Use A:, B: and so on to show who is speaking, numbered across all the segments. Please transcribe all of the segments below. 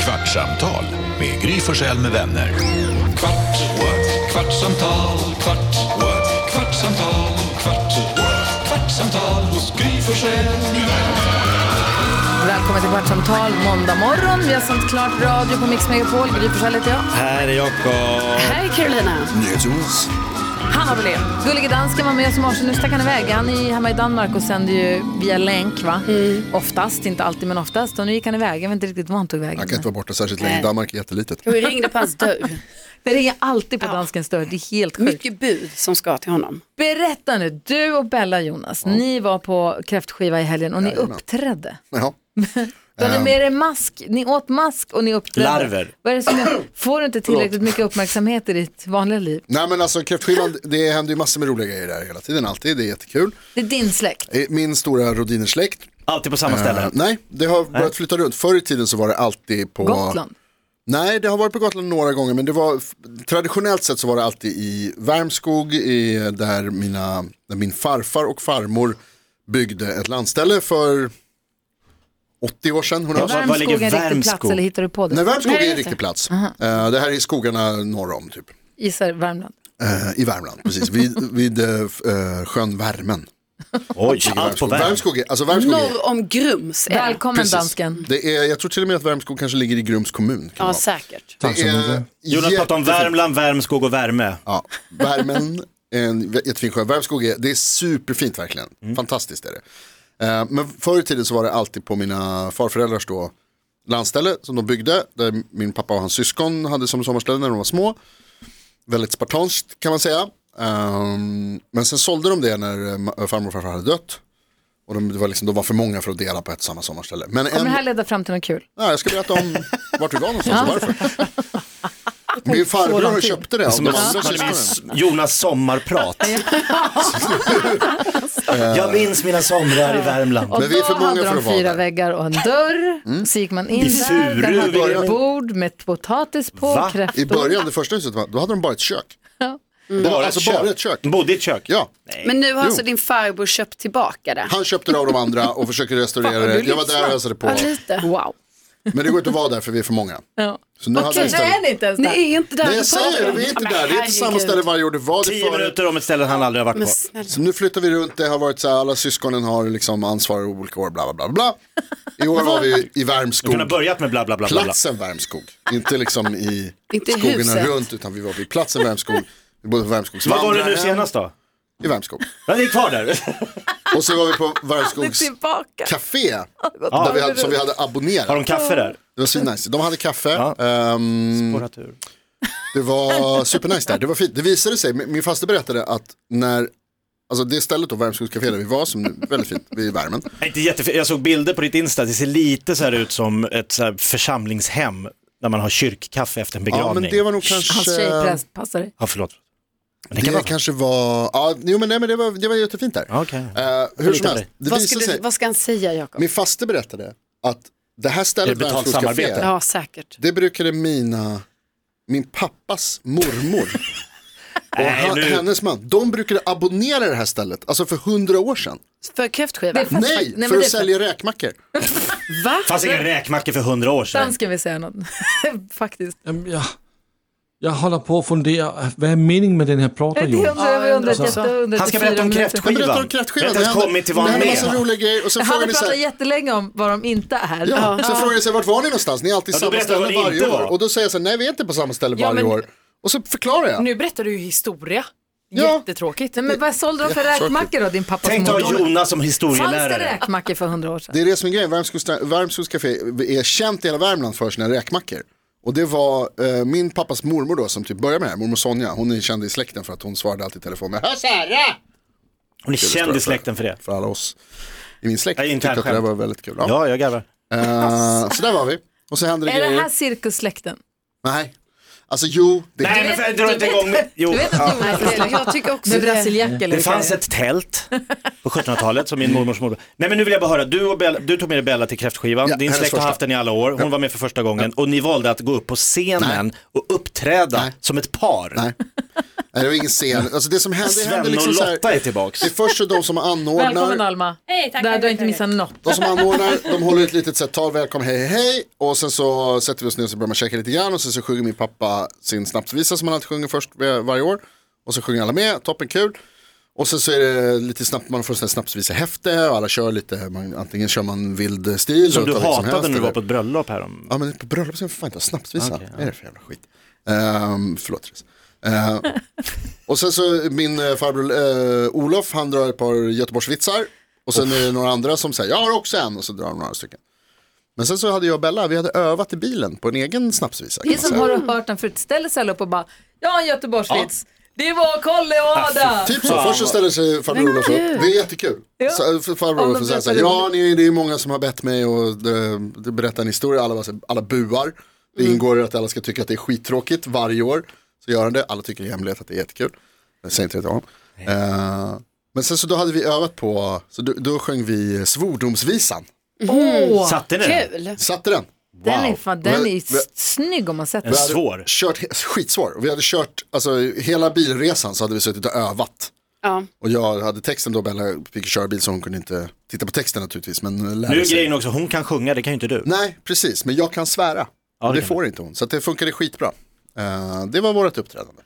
A: Kvartsamtal med Gry Forssell med vänner. Kvart, what? kvartsamtal, kvart, what? kvartsamtal, kvart, what? kvartsamtal hos Gry Forssell med vänner.
B: Välkommen till Kvartsamtal måndag morgon. Vi har sänt klart radio på Mix Megapol. Gry Forssell heter jag.
C: Här är Jakob.
B: Här är Carolina. Hanna Brolin. Gullige dansken var med oss i morse. Nu stack han iväg. Han är hemma i Danmark och sänder ju via länk, va? Oftast, inte alltid, men oftast. Och nu gick han iväg. Jag vet inte riktigt var han tog vägen.
D: Han kan inte vara borta särskilt länge.
E: Nej.
D: Danmark är jättelitet.
E: Vi ringde på hans dörr.
B: Det ringer alltid på danskens dörr. Det är helt sjukt.
E: Mycket bud som ska till honom.
B: Berätta nu, du och Bella Jonas, ni var på kräftskiva i helgen och ni uppträdde.
D: Ja.
B: Du
D: Ehm.
B: hade med er mask, ni åt mask och ni uppträdde.
C: Larver.
B: Vad är det som gör- får du inte tillräckligt mycket uppmärksamhet i ditt vanliga liv?
D: Nej men alltså kräftskivan, det händer ju massor med roliga grejer där hela tiden alltid. Det är jättekul.
B: Det är din släkt.
D: Eh, Min stora rodinersläkt.
C: Alltid på samma ställe.
D: Eh, nej, det har börjat flytta runt. Förr i tiden så var det alltid på...
B: Gotland.
D: Nej, det har varit på Gotland några gånger. Men det var, traditionellt sett så var det alltid i Värmskog, i, eh, där, mina, där min farfar och farmor byggde ett landställe för 80 år sedan. 100 år sedan.
C: var- var ligger
B: Värmskog är en riktig plats
C: Värmskog?
B: eller hittar du på det?
D: Nej, Värmskog är
E: Nej,
D: en
E: inte.
D: riktig plats. Eh, det här är skogarna norr om typ.
B: Gissar Värmland.
D: Eh, I Värmland, precis. Vid, vid eh, f- eh, sjön Värmen.
C: Oj, allt på
D: Värmskog.
C: väg.
D: Värmskog är, alltså Värmskog är,
E: Norr om Grums är det.
B: Välkommen dansken.
D: det är, jag tror till och med att Värmskog kanske ligger i Grums kommun. kan
E: Ja,
D: vara.
E: säkert.
D: det är
C: Jonas pratar om
D: jättefint.
C: Värmland, Värmskog och värme.
D: Ja, Värmen är en jättefin sjö. Värmskog är, det är superfint verkligen.
C: Mm.
D: Fantastiskt är det. Eh, Men förr i tiden så var det alltid på mina farföräldrars då landställe som de byggde. Där min pappa och hans syskon hade som sommarställe när de var små. Väldigt spartanskt kan man säga. Ehm, men sen sålde de det när eh, ma- farmor och farfar hade dött. Och de, det var liksom, de var för många för att dela på ett och samma sommarställe. Men en,
B: Kommer det här leda fram till något kul?
D: nej, jag ska berätta om vart vi var någonstans och varför. Min
B: Så lång
D: farbror
B: tid.
D: köpte det av
C: Som
D: de
C: är,
D: andra
C: som är
D: syskonen.
C: s- Jonas sommarprat. Jag minns mina somrar i Värmland.
B: Och
D: Men vi är för
B: då
D: många
B: hade
D: för
B: de
D: att vara
B: fyra
D: där. Mm.
B: väggar och en dörr. Så gick man in
C: I
B: där.
C: Furu
B: Där hade
C: vill
B: de
C: jag-
B: ett bord med potatis på,
C: Va?
B: kräftor.
D: I början, det första huset, då hade de bara ett kök. Det var
C: Bara
D: alltså
C: ett kök.
D: bara ett kök.
C: Bodde i ett kök.
D: Ja,
E: Men nu har
D: Jo.
E: alltså din farbror köpt tillbaka det.
D: han köpte det av de andra och försöker restaurera det. Jag var där och hälsade på.
E: Ja, lite.
B: Wow.
D: Men det går inte att vara där för vi är för många.
B: Ja.
D: Så nu hade vi
B: Det är
D: istället...
B: ni inte ens
E: Ni
B: där.
E: är inte där.
D: Nej
E: du
D: jag säger
E: pratar
D: det,
E: om.
D: vi är inte
E: Ja,
D: där. Det är inte
E: men
D: samma ställe varje år. Det var det
C: Tio
D: förut.
C: minuter om ett ställe han aldrig har varit på.
E: herregud.
D: Så nu flyttar vi runt, det har varit så här, alla syskonen har liksom ansvar i olika år, bla bla bla. bla. I år var vi i
C: Du kunde ha
D: Värmskog,
C: börjat med bla bla bla. bla, bla.
D: platsen Värmskog. Inte liksom i
E: Inte i
D: skogarna
E: huset.
D: runt, utan vi var vid platsen Värmskog. Vi bodde på
C: Vad var
D: Värmskogsvandraren.
C: det nu senast då?
D: I Värmskog.
C: Ja, det är kvar där.
D: Och så var vi på Värmskogs
E: typ-
B: Tillbaka.
D: café där vi hade, som vi hade abonnerat.
C: Har de kaffe där?
D: Det var svinnice. De hade kaffe.
C: Ja.
D: Ehm,
C: Spårat ur.
D: det var supernice där. Det var fint. Det visade sig, min min faster berättade att när, alltså det stället då, Värmskogs café där vi var, som nu, väldigt fint, vid värmen.
C: Nej, Inte jättefint. Jag såg bilder på ditt Insta, det ser lite så här ut som ett så här församlingshem när man har kyrkkaffe efter en begravning.
D: Ja men det var nog kanske...
B: Hans tjej prästpassare.
C: Ja, förlåt. Men det kan
D: Det
C: vara...
D: kanske var, ja, jo men, nej, men det, var, det var jättefint där.
C: Ja, okej.
D: Eh, hur
C: Lite
D: som helst,
C: dig.
D: det
E: Vad,
D: visade
E: skulle,
D: sig,
E: vad ska han säga, Jakob?
D: min faster berättade att det här
C: Är
D: stället,
C: det betalt
D: Värmskogs café,
C: samarbete?
E: Ja, säkert.
D: det brukade mina, min pappas mormor Och
C: Nej,
D: han,
C: nu...
D: hennes man, de brukade abonnera det här stället, alltså för hundra år sedan.
E: För kräftskiva?
B: Fast- fast-
D: Nej,
B: men
D: för
B: det
D: att
B: är
D: sälja räkmackor.
E: Va?
C: fanns ingen räkmacka för hundra år sedan.
B: Dansken vill säga något. Faktiskt.
F: Jamen, jeg, jeg holder på at fundere, hvad er meningen med den her
B: Det
F: plotter, Jonas?
B: undrar jag undrar
F: Så.
B: jätteundrat
C: Han ska
B: i fyra
C: berätta om
B: minuter.
D: Han
C: kräftskivan.
D: berättar om
C: Jag
D: kräftskivan.
C: har inte ens kommit till vad
D: det
C: han
D: hände
C: är.
D: massa roliga grejer och sen
B: Han
D: frågar
B: har
D: ni så
B: pratat
D: här,
B: jättelänge om vad de inte är.
D: ja, sen frågar ni sig, vart var ni någonstans? Ni är alltid
C: Ja, då
D: samma
C: berättar jag
D: ställe
C: vad det
D: varje
C: inte var.
D: år. Och då säger jag så här, nej vi är inte på samma ställe
G: Ja,
D: varje
G: men-
D: år. Och så förklarar jag.
G: Nu berättar du ju historia.
D: Ja.
G: Jättetråkigt.
B: Nej, men vad sålde de för räkmackor då, din pappas
C: Tänk ta
B: mormor?
C: Jonas som
B: Fanns det
C: historielärare.
B: räkmackor för hundra år sedan?
D: Det är det som är grejen, Värmskogs- Värmskogs Café är känt i hela Värmland för sina räkmackor. Och det var eh, min pappas mormor då som typ började med det här, mormor Sonja. Hon är känd i släkten för att hon svarade alltid i telefon med "Hör Sara!"
C: Hon är känd i släkten för det.
D: För alla oss i min släkt
C: Ja,
D: tyckte att det där
C: internskämt.
D: var väldigt kul. Ja.
C: Ja, jag garvar.
D: Eh, så där var vi. Och så hände det
B: Är
D: grejer.
B: det här cirkussläkten?
D: Nej. Alltså jo, det
C: Nej, men för jag drar inte igång med... Jo.
B: Du vet att Jonas
E: Nej, det- jag tycker också
B: med liksom.
E: det.
B: brasiljacka eller
C: Det fanns ett tält på 1700-talet som min
D: Mm.
C: mormors morbror. Nej men nu vill jag bara höra, du, och Bella, du tog med dig Bella till kräftskivan,
D: Ja,
C: din
D: hennes
C: släkt har
D: första.
C: haft den i alla år, hon var med för första gången och ni valde att gå upp på scenen och uppträda
D: Nej.
C: som ett par.
D: Nej. Nej, det var ingen scen. Alltså det som hände, det
C: Sven
D: hände liksom
C: och
D: så här,
C: Lotta är tillbaks.
D: det är först så de som anordnar.
B: Välkommen Alma.
G: Hej, tack,
B: Där
G: tack,
B: du har
G: tack,
B: inte
G: tack.
B: missat något.
D: De som anordnar, de håller ett litet så här, tal, välkommen, hej, hej. Och sen så sätter vi oss ner och så börjar man käka lite grann. Och sen så sjunger min pappa sin snapsvisa som han alltid sjunger först var- varje år. Och så sjunger alla med, toppen kul. Och sen så är det lite snabbt, man får en sån här snapsvisa-häfte och alla kör lite, man, antingen kör man vild stil.
C: Som
D: och
C: du
D: tar vilket som
C: hatade
D: helst,
C: när du
D: eller-
C: var på ett bröllop härom.
D: Ja men på bröllop ska man för fan inte ha snapsvisa. Vad är det för jävla skit? Um, förlåt Therese. Ehm, och sen så min eh, farbror eh, Olof, han drar ett par Göteborgsvitsar. Och sen är det några andra som säger, jag har också en. Och så drar de några stycken. Men sen så hade jag och Bella, vi hade övat i bilen på en egen snapsvisa.
B: Det är
D: kan man
B: som
D: säga.
B: har du hört den förut. Ställer sig alla upp och bara, jag har en göteborgsvits. Det var Kalle och Adam.
D: Typ så, först så ställer sig farbror Olof upp. Det är jättekul. Så, eh, för farbror
B: Om de
D: Olof säger så här,
B: berättar
D: ja ni, det är många som har bett mig och det, det berättar en historia, alla, bara så här, alla buar. Det ingår i att alla ska tycka att det är skittråkigt varje år. Så gör han det, alla tycker i hemlighet att det är jättekul. Jag säger inte det till honom. Eh, men sen så då hade vi övat på, så då, då sjöng vi svordomsvisan.
B: Åh,
C: Satte ni den?
E: Kul.
D: Satte den?
B: Mm. den är, fan, den är
D: Vi-
B: ju
D: vi-
B: snygg om man sett
C: En
B: den.
C: svår.
D: Kört, he- skitsvår. Och Vi hade kört, alltså hela bilresan så hade vi suttit och övat.
E: Ja.
D: Och jag hade texten då, Bella fick köra bil så hon kunde inte titta på texten naturligtvis. Men
C: Nu
D: lärde
C: är
D: sig.
C: grejen också, hon kan sjunga, det kan ju inte du.
D: Nej, precis, men jag kan svära. och
C: det
D: det
C: kan
D: får inte hon. Så att det funkade skitbra. Eh, det var vårt uppträdande.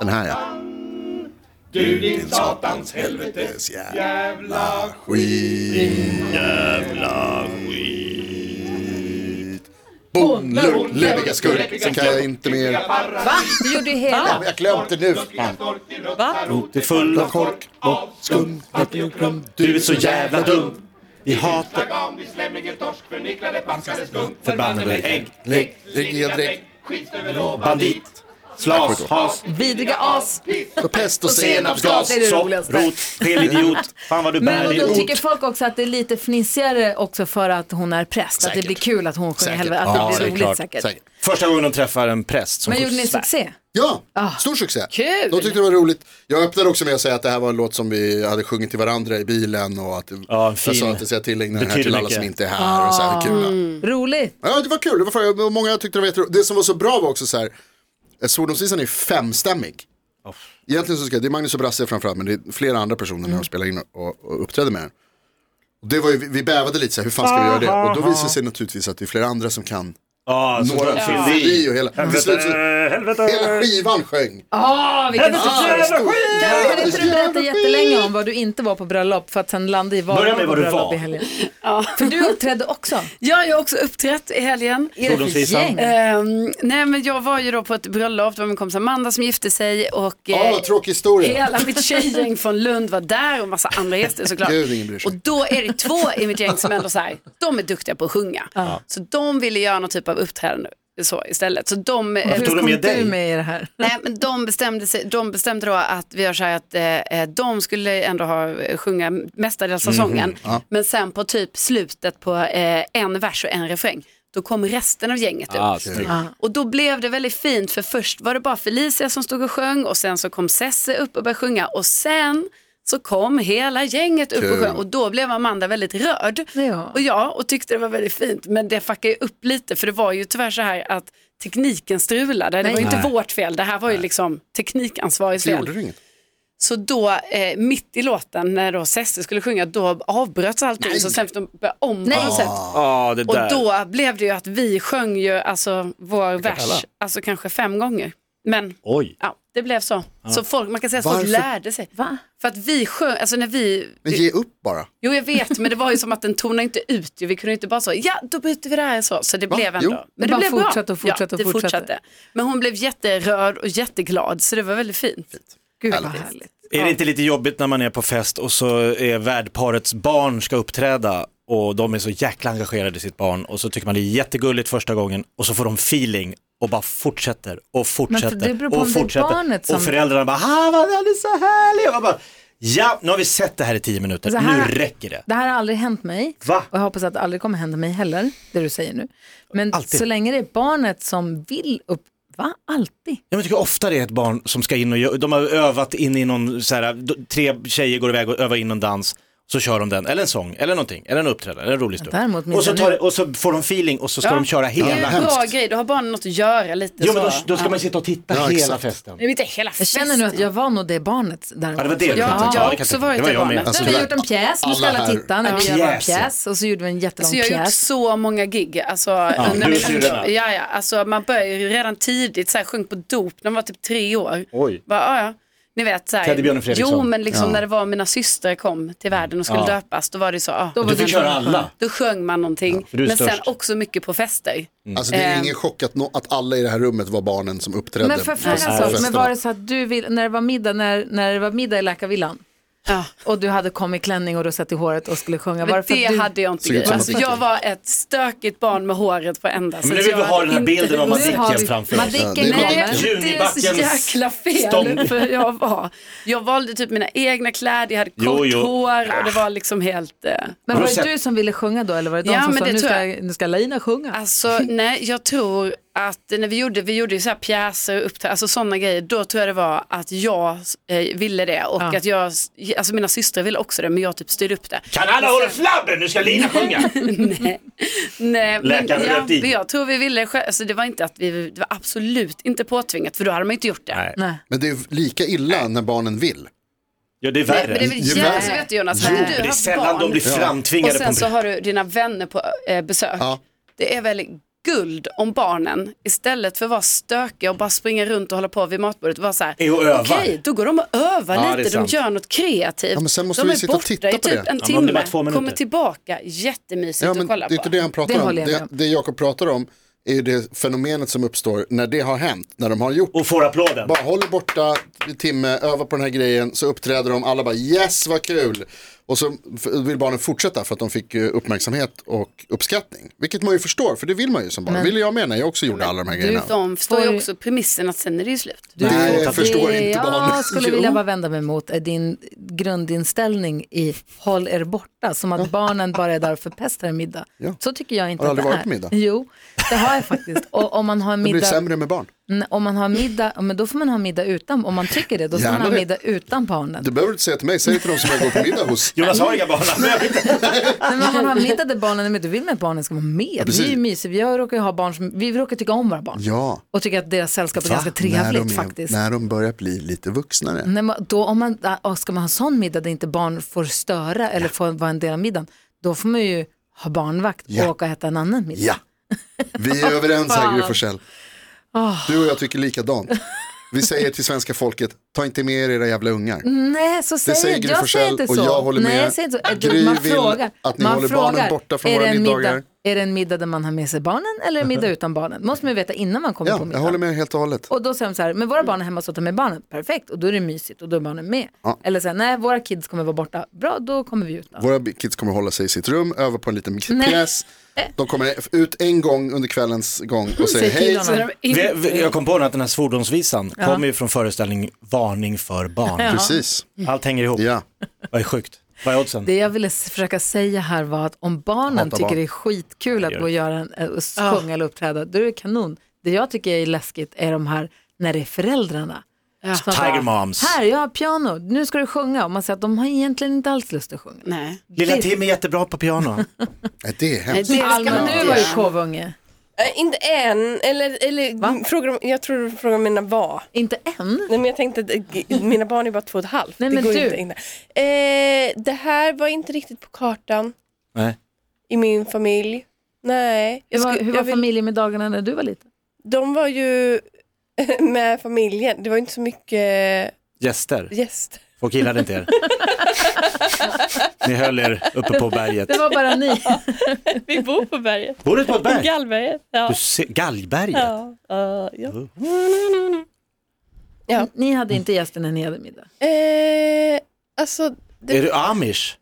D: Den här ja.
A: Du din satans helvete
D: Yes, Jävla skit.
C: Jävla
D: Bonnlur, leviga skurk. Sen kan jag inte mer.
B: Va? Du gjorde ju hela.
D: Ja, Jag glömde nu.
C: Du är full av kork och skum. Du är så jävla dum. Vi hatar förbannade ägg.
D: Lägg, lägg, jag dräkt.
C: Bandit. Slas, has,
B: Vidriga as.
D: Och pest och senap.
C: senapsgas,
B: Det är det
C: sopp,
B: roligaste.
C: rot, skelidiot. Fan vad du
B: Men
C: bär
B: vadå,
C: dig
B: tycker
C: ot.
B: folk också att det är lite fnissigare också för att hon är präst? Att det
D: Säkert.
B: blir kul att hon sjunger
D: Säkert.
B: helvete, att det
D: Ja, det är
B: blir roligt
C: klart.
B: säkert.
D: Säkert.
C: Första gången de träffar en präst som
B: Men gjorde ni
C: svär.
B: succé?
D: Ja, stor succé.
E: Kul.
D: De tyckte det var roligt. Jag öppnade också med att säga att det här var en låt som vi hade sjungit till varandra i bilen och att
C: Ja, en fin.
D: jag sa att jag ska tillägna den här
C: Betyder
D: till alla
C: mycket.
D: som inte är här och så här kul.
B: Roligt.
D: Ja, det var kul. Det var fan- och många tyckte det var jätteroligt. Det som var så bra var också så här, eh, svordomsvisan är ju femstämmig. Egentligen så ska det är Magnus och Brasse framförallt, men det är flera andra personer när de spelar in och, och uppträder med den. Och Det var ju, vi- vi bävade lite så här, hur fan ska vi göra det? Och då visade det sig naturligtvis att det är flera andra som kan
C: Ja, så
D: några
C: bra.
D: fylleri och hela, till slut så,
C: Eh, Helvete.
D: hela skivan sjöng.
B: Åh, vilken
D: Ah, stor-
B: Kan inte du berätta jättelänge om vad du inte var på bröllop för att sen landa i vad
C: Börja med
B: var på
C: vad du
B: bröllop
C: var.
B: i helgen? För du uppträdde också.
E: Ja, jag har också uppträtt i helgen.
B: Är det för
C: Fordonsvisan.
B: gäng?
E: Ehm, nej, men jag var ju då på ett bröllop, det var min kompis Amanda som gifte sig och eh,
D: Ja, vad tråkig historia.
E: hela mitt tjejgäng från Lund var där och massa andra gäster såklart.
D: Gud, ingen bryr sig.
E: Och då är det två i mitt gäng som ändå så här, de är duktiga på att sjunga. Så de ville göra någon typ av uppträdande så istället. Så de, eh,
B: Hur
C: tog de
B: kom
C: med dig?
B: du med i det här?
E: Nej, men de, bestämde sig, de bestämde då att vi gör så här att eh, eh, de skulle ändå ha, eh, sjunga mestadels av
D: Mhm,
E: sången. Men sen på typ slutet på eh, en vers och en refräng, då kom resten av gänget ut. Och då blev det väldigt fint för först var det bara Felicia som stod och sjöng och sen så kom Sesse upp och började sjunga och sen så kom hela gänget upp och
D: Kul.
E: sjöng och då blev Amanda väldigt rörd.
B: Ja.
E: Och ja, och tyckte det var väldigt fint. Men det fuckade ju upp lite för det var ju tyvärr så här att tekniken strulade. Det var ju inte vårt fel, det här var ju liksom teknikansvarigt
D: Så gjorde
E: fel.
D: det inget.
E: Så då, eh, mitt i låten när då Sesse skulle sjunga, då avbröts allting. Så sen fick de börja om på
C: Ah,
E: något sätt.
C: Ja, det
E: Och
C: där.
E: då blev det ju att vi sjöng ju alltså vår vers, alltså kanske fem gånger. Men
C: Oj.
E: ja, det blev så. Så folk, man kan säga att folk
D: Varför?
E: lärde sig.
B: Va?
E: För att vi sjöng, alltså när vi,
D: Men ge upp bara.
E: jo jag vet, men det var ju som att den tonade inte ut ju. Vi kunde inte bara så, ja då byter vi det här så. Så det
D: Va?
E: blev ändå.
D: Jo.
E: Men det
B: Bara
E: blev
B: fortsatte
E: bra.
B: och fortsatte och
E: ja, det
B: fortsatte.
E: fortsatte. Men hon blev jätterörd och jätteglad, så det var väldigt fint.
B: Gud vad härligt.
C: Är det inte lite jobbigt när man är på fest och så är värdparets barn ska uppträda och de är så jäkla engagerade i sitt barn och så tycker man det är jättegulligt första gången och så får de feeling och bara fortsätter och fortsätter
B: det beror på om
C: och
B: det är
C: fortsätter.
B: barnet som-
C: Och föräldrarna bara, ah, vad är det så härligt? Och man bara, ja, nu har vi sett det här i tio minuter,
B: Så här-
C: nu räcker det.
B: Det här har aldrig hänt mig.
C: Va?
B: Och jag hoppas att det aldrig kommer hända mig heller, det du säger nu. Men
C: Alltid.
B: så länge det är barnet som vill upp, Va? Alltid?
C: Jag tycker ofta det är ett barn som ska in och gö- de har övat in i någon, så här, d- tre tjejer går iväg och övar in någon dans, så kör de den, eller en sång, eller någonting, eller en uppträdande, eller en rolig stund.
B: Däremot minns
C: Och så,
B: jag
C: tar,
B: nu-
C: det- och så får de feeling och så ska de köra
E: Det är ju
C: hela.
E: en bra
D: hemskt.
E: grej, då har barnen något att göra lite
C: Jo
E: så.
C: men då, då ska
E: Ja.
C: man sitta och titta
D: Ja,
C: hela
D: exakt.
C: festen.
E: Nej, men inte hela
B: Jag
E: festen.
B: känner nu att jag var nog det barnet
C: Ja,
B: däremot.
C: det var det du
E: Ja,
C: tänkte.
E: jag har
C: det
E: också
C: kan jag tänka.
E: varit
C: Det var
E: ett
C: jag
E: barn.
C: med.
D: Alltså,
B: vi har
D: tyvärr,
B: gjort en pjäs, nu
D: alla
B: ska alla
D: här-
B: titta när vi
C: Ja.
B: gör vår
C: Pjäsen.
B: pjäs och så gjorde vi en jättelång
E: Så Alltså, jag har gjort
B: pjäs.
E: så många gig. Alltså,
C: du
E: när
C: och
E: vi-
C: syrrorna.
E: ja, ja, alltså, man börjar ju redan tidigt, så här, sjöng på dop när man var typ tre år.
C: Oj.
E: Bara, ja, ja. Ni vet, så här,
C: Teddy Björn och Fredriksson.
E: jo men liksom
D: Ja.
E: när det var mina systrar kom till världen och skulle
C: Ja.
E: döpas, då var det så, ja.
B: Då var
C: Du fick
B: det-
C: köra alla.
E: Då sjöng man någonting,
C: för du är
E: men sen
C: störst.
E: också mycket på fester.
D: Alltså det är
E: Ehm.
D: ingen chock att, nå- att alla i det här rummet var barnen som uppträdde.
B: Eh, Men för
D: på
B: fråga en sak, men
D: festerna.
B: var det så att du vill, när det var middag, när, när det var middag i läkarvillan
E: Ja.
B: och du hade kommit klänning och rosett i håret och skulle sjunga, var
E: Men
B: det för
E: det
B: att du...
E: hade jag inte
D: Såg ut
E: gjort.
D: som
E: Alltså,
D: att-
E: jag var ett stökigt barn med håret på ända. så
C: Men nu
E: att
C: vill vi
E: jag
C: ha den här
E: inte-
C: bilden av
B: Nu har
C: Madicken
B: vi-
C: framför oss.
B: Madicken
D: Ja, det är
B: är
D: Madicken.
E: Det är så
C: Junibackens
E: jäkla
C: stång.
E: fel för jag var. Jag valde typ mina egna kläder, jag hade kort
C: Jo, jo.
E: hår och det var liksom helt... Eh,
B: Men var det
C: Rosett.
B: du som ville sjunga då eller var det de
E: Ja,
B: som
E: men
B: sa
E: det
B: nu
E: tror
B: ska,
E: jag.
B: nu ska Laina sjunga?
E: alltså nej, jag tror att när vi gjorde, vi gjorde ju så här pjäser, uppträden, alltså sådana grejer, då tror jag det var att jag eh, ville det och
B: Ja.
E: att jag, alltså mina systrar ville också det men jag typ styrde upp det.
C: Kan alla hålla flabben? Nu ska Lina sjunga.
E: nej, nej men,
C: Läkaren
E: ja,
C: rätt i.
E: men jag tror vi ville, själv- alltså det var inte att vi, det var absolut inte påtvingat för då hade man inte gjort det.
C: Nej.
B: Nej.
D: Men det är lika illa när barnen vill.
C: Ja det är
E: Nej,
C: värre.
E: men det är väl
D: Ju
E: jävligt,
D: värre.
E: alltså, vet du Jonas, hade du
C: det är
E: haft
C: sällan
E: barn,
C: de blir
E: Och
C: framtvingade på
E: sen
C: en
E: så har du dina vänner på eh, besök.
D: Ja.
E: Det är väl guld om barnen istället för att vara stökiga och bara springa runt och hålla på vid matbordet och vara så här.
C: Är och
E: Okej,
C: övar.
E: då går de och övar
C: Ja, det är
E: lite, de
C: sant.
E: gör något kreativt.
D: Ja, men sen måste
E: de
D: vi
E: är
D: sitta och
E: borta
D: titta
E: i
D: på
E: typ
D: det.
E: en
C: Ja, men om det
E: timme,
C: bara två minuter.
E: kommer tillbaka, jättemysigt
D: Ja,
E: att
D: men det
E: kolla
D: är inte
E: på.
D: det han pratar
B: Det
D: om.
B: håller jag med
D: Det,
B: om.
D: det Jakob pratar om är ju det fenomenet som uppstår när det har hänt, när de har gjort
C: Och får applåden.
D: Bara håller borta i timme, övar på den här grejen, så uppträder de, alla bara yes vad kul. Och så f- vill barnen fortsätta för att de fick ju uppmärksamhet och uppskattning. Vilket man ju förstår, för det vill man ju som barn. ville jag med när jag också gjorde alla de här grejerna.
E: De förstår
B: Får-
E: ju också premissen att sen är det ju slut.
D: Det förstår inte barnen.
B: Jag skulle
D: Jo.
B: vilja bara vända mig mot är din grundinställning i håll er borta, som att barnen bara är där för pestar en middag.
D: Ja.
B: Så tycker jag inte
D: Har du
B: att det
D: aldrig
B: är.
D: varit på middag?
B: Jo, det har jag faktiskt. Och om man har en
D: Det blir
B: middag,
D: sämre med barn.
B: n- om man har middag, ja, men då får man ha middag utan, om man tycker det, då ska man ha
D: Gärna det.
B: middag utan barnen.
D: Du behöver inte säga till mig, säg till de som jag går på middag hos.
C: Jonas har inga barn.
B: Nej, men om man har middag där barnen är med, då vill man att barnen ska vara med.
D: precis.
B: det är ju mysigt. Jag råkar ju ha barn som, vi råkar tycka om våra barn.
D: Ja,
B: Och tycker att deras sällskap är ganska
D: när de,
B: trevligt
D: är,
B: faktiskt. Mm.
D: när de börjar bli lite vuxnare.
B: Nej, men då, om man, ah, ska man ha sån middag där inte barn får störa eller får vara en del av middagen, då får man ju ha barnvakt
D: Ja.
B: och åka och äta en annan middag.
D: Ja, vi är överens här Gry Forssell. Du och jag tycker likadant. Vi säger till svenska folket, ta inte med er era jävla ungar.
B: Nej, så säger,
D: säger Gry
B: jag
D: Forssell
B: säger inte
D: och
B: så.
D: jag håller
B: Nej,
D: med.
B: jag säger inte så. Äh,
D: Gry
B: man
D: vill
B: frågar,
D: att ni
B: man
D: håller
B: frågar,
D: barnen borta från
B: är
D: våra
B: det en
D: middagar.
B: Middag, är det en middag där man har med sig barnen eller en middag utan barnen? måste man ju veta innan man kommer på
D: Ja, jag
B: middag.
D: håller med helt och hållet.
B: Och då säger de så här, men våra barn är hemma så ta med barnen, perfekt, och då är det mysigt och då är barnen med.
D: Ja.
B: Eller så här, nej våra kids kommer vara borta, bra då kommer vi ut. då.
D: Våra kids kommer hålla sig i sitt rum, öva på en liten
B: Nej.
D: pjäs. De kommer ut en gång under kvällens gång och säger
B: Säg till
D: hej.
B: honom.
E: Så när de
C: Vi-
E: inte-
C: vi- Jag kom på nu att den här svordomsvisan kommer ju från föreställning Varning för barn.
D: Precis,
C: Allt hänger ihop.
D: ja.
C: Vad är sjukt? Vad är oddsen?
B: Det jag ville s- försöka säga här var att om barnen
D: Hata
B: tycker
D: barn.
B: det är skitkul att
C: gör
B: gå och, göra en, eh, och s- sjunga eller uppträda, då är det kanon. Det jag tycker är läskigt är de här när det är föräldrarna. Som
C: Tiger
B: bara,
C: moms.
B: Här, jag har piano, nu ska du sjunga. Och man säger att de har egentligen inte alls lust att sjunga.
E: Nej.
C: Lilla Tim är jättebra på piano.
D: Nej, Det är
E: Nej,
D: hemskt.
E: det ska
B: Alma,
E: man
B: du
E: inte
B: var ju
E: göra.
B: kovunge.
G: Eh, inte än, eller,
B: Va?
G: eller frågar om, jag tror du frågar om mina var.
B: Inte än.
G: Nej men jag tänkte att eh, g- mina barn är bara två och ett halvt.
B: Nej,
G: det
B: men
G: går
B: du-
G: inte in. där. Eh, det här var inte riktigt på kartan
C: Nej.
G: i min familj. Nej.
B: Hur
G: jag
B: var,
G: skulle-
B: hur
G: jag
B: var
G: vill-
B: familjemiddagarna när du var liten?
G: De var ju med familjen. Det var inte så mycket
C: Gäster.
G: gäster.
C: Folk gillade inte er. Ni höll er uppe på berget.
B: Det var bara ni.
G: Vi bor på berget.
C: Bor du på ett berg?
G: Gallberget. Ja.
C: Du ser, Gallberget?
G: Ja, ja, ja.
B: Ni hade inte gäster när ni hade middag.
G: Eh, alltså,
C: Är du amish?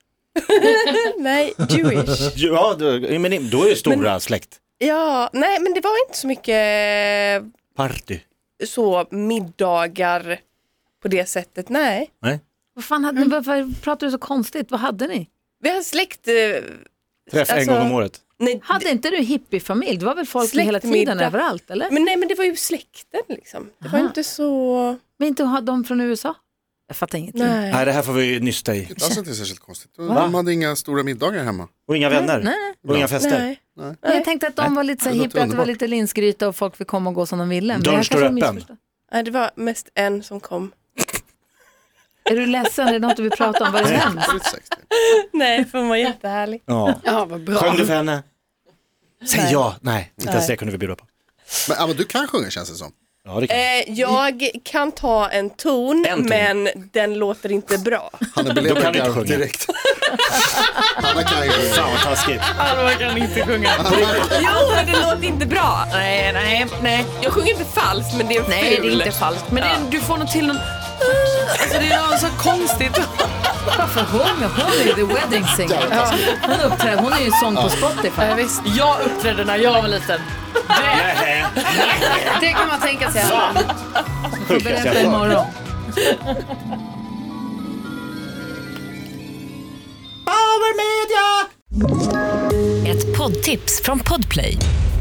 G: nej, Jewish.
C: Ja, du, men då är ju stora släkt.
G: Ja, nej men det var inte så mycket
C: Party.
G: så middagar på det sättet, nej.
C: Nej.
G: Mm.
B: Vad fan hade ni, varför pratar du så konstigt? Vad hade ni?
G: Vi har släkt, eh,
C: Träff en
G: alltså,
C: gång om året.
G: Nej,
B: Hade inte du hippiefamilj? Det var väl folk hela tiden
G: Släktmiddag.
B: överallt eller? Men,
G: men nej, men det var ju släkten liksom. Det var
B: Aha.
G: inte så...
B: inte ha de från USA? Jag fattar ingenting.
G: Nej.
C: Nej, det här får vi nysta i.
D: Det alls inte särskilt konstigt. De hade inga stora middagar hemma.
C: Och inga vänner.
B: Nej, nej.
C: Och inga fester.
G: Nej.
B: Men Jag tänkte att de var lite så här
D: Det låter
B: hippiga, att det var
D: underbart.
B: lite linsgryta och folk fick komma och gå som de ville. Men
C: Dörren
B: jag
C: står
B: kanske
C: öppen.
B: missförstod.
G: nej, det var mest en som kom.
B: Är du ledsen? Är det något du vill prata om? Var det hemskt?
D: Slut 60.
G: Nej, för hon var jättehärlig.
C: Ja.
E: Ja, vad bra.
C: Sjöng du för henne? Säg ja. Nej, inte ens det kunde vi bjuda på.
D: Men, ja, men du kan sjunga känns det som.
C: Ja, det kan vi.
G: Eh, jag kan ta en ton,
C: En ton.
G: men den låter inte bra.
D: Han är
C: Då kan
D: belevd
C: du inte sjunga.
D: direkt. Hanna kan ju
C: Fan vad taskigt.
G: jo, men det låter inte bra. Nej, nej, nej. Jag sjunger inte falskt, men det är ful.
B: Nej, det är inte falskt. Men det är, du får något till någon... Alltså det är något så konstigt. Varför sjöng jag? Hon är ju the wedding singer. Hon, uppträder, hon är ju sång på Spotify.
E: Ja, visst.
H: Jag uppträdde när jag var liten.
C: Nej,
E: Det kan man tänka sig.
B: Får berätta imorgon.
I: Ett poddtips från Podplay.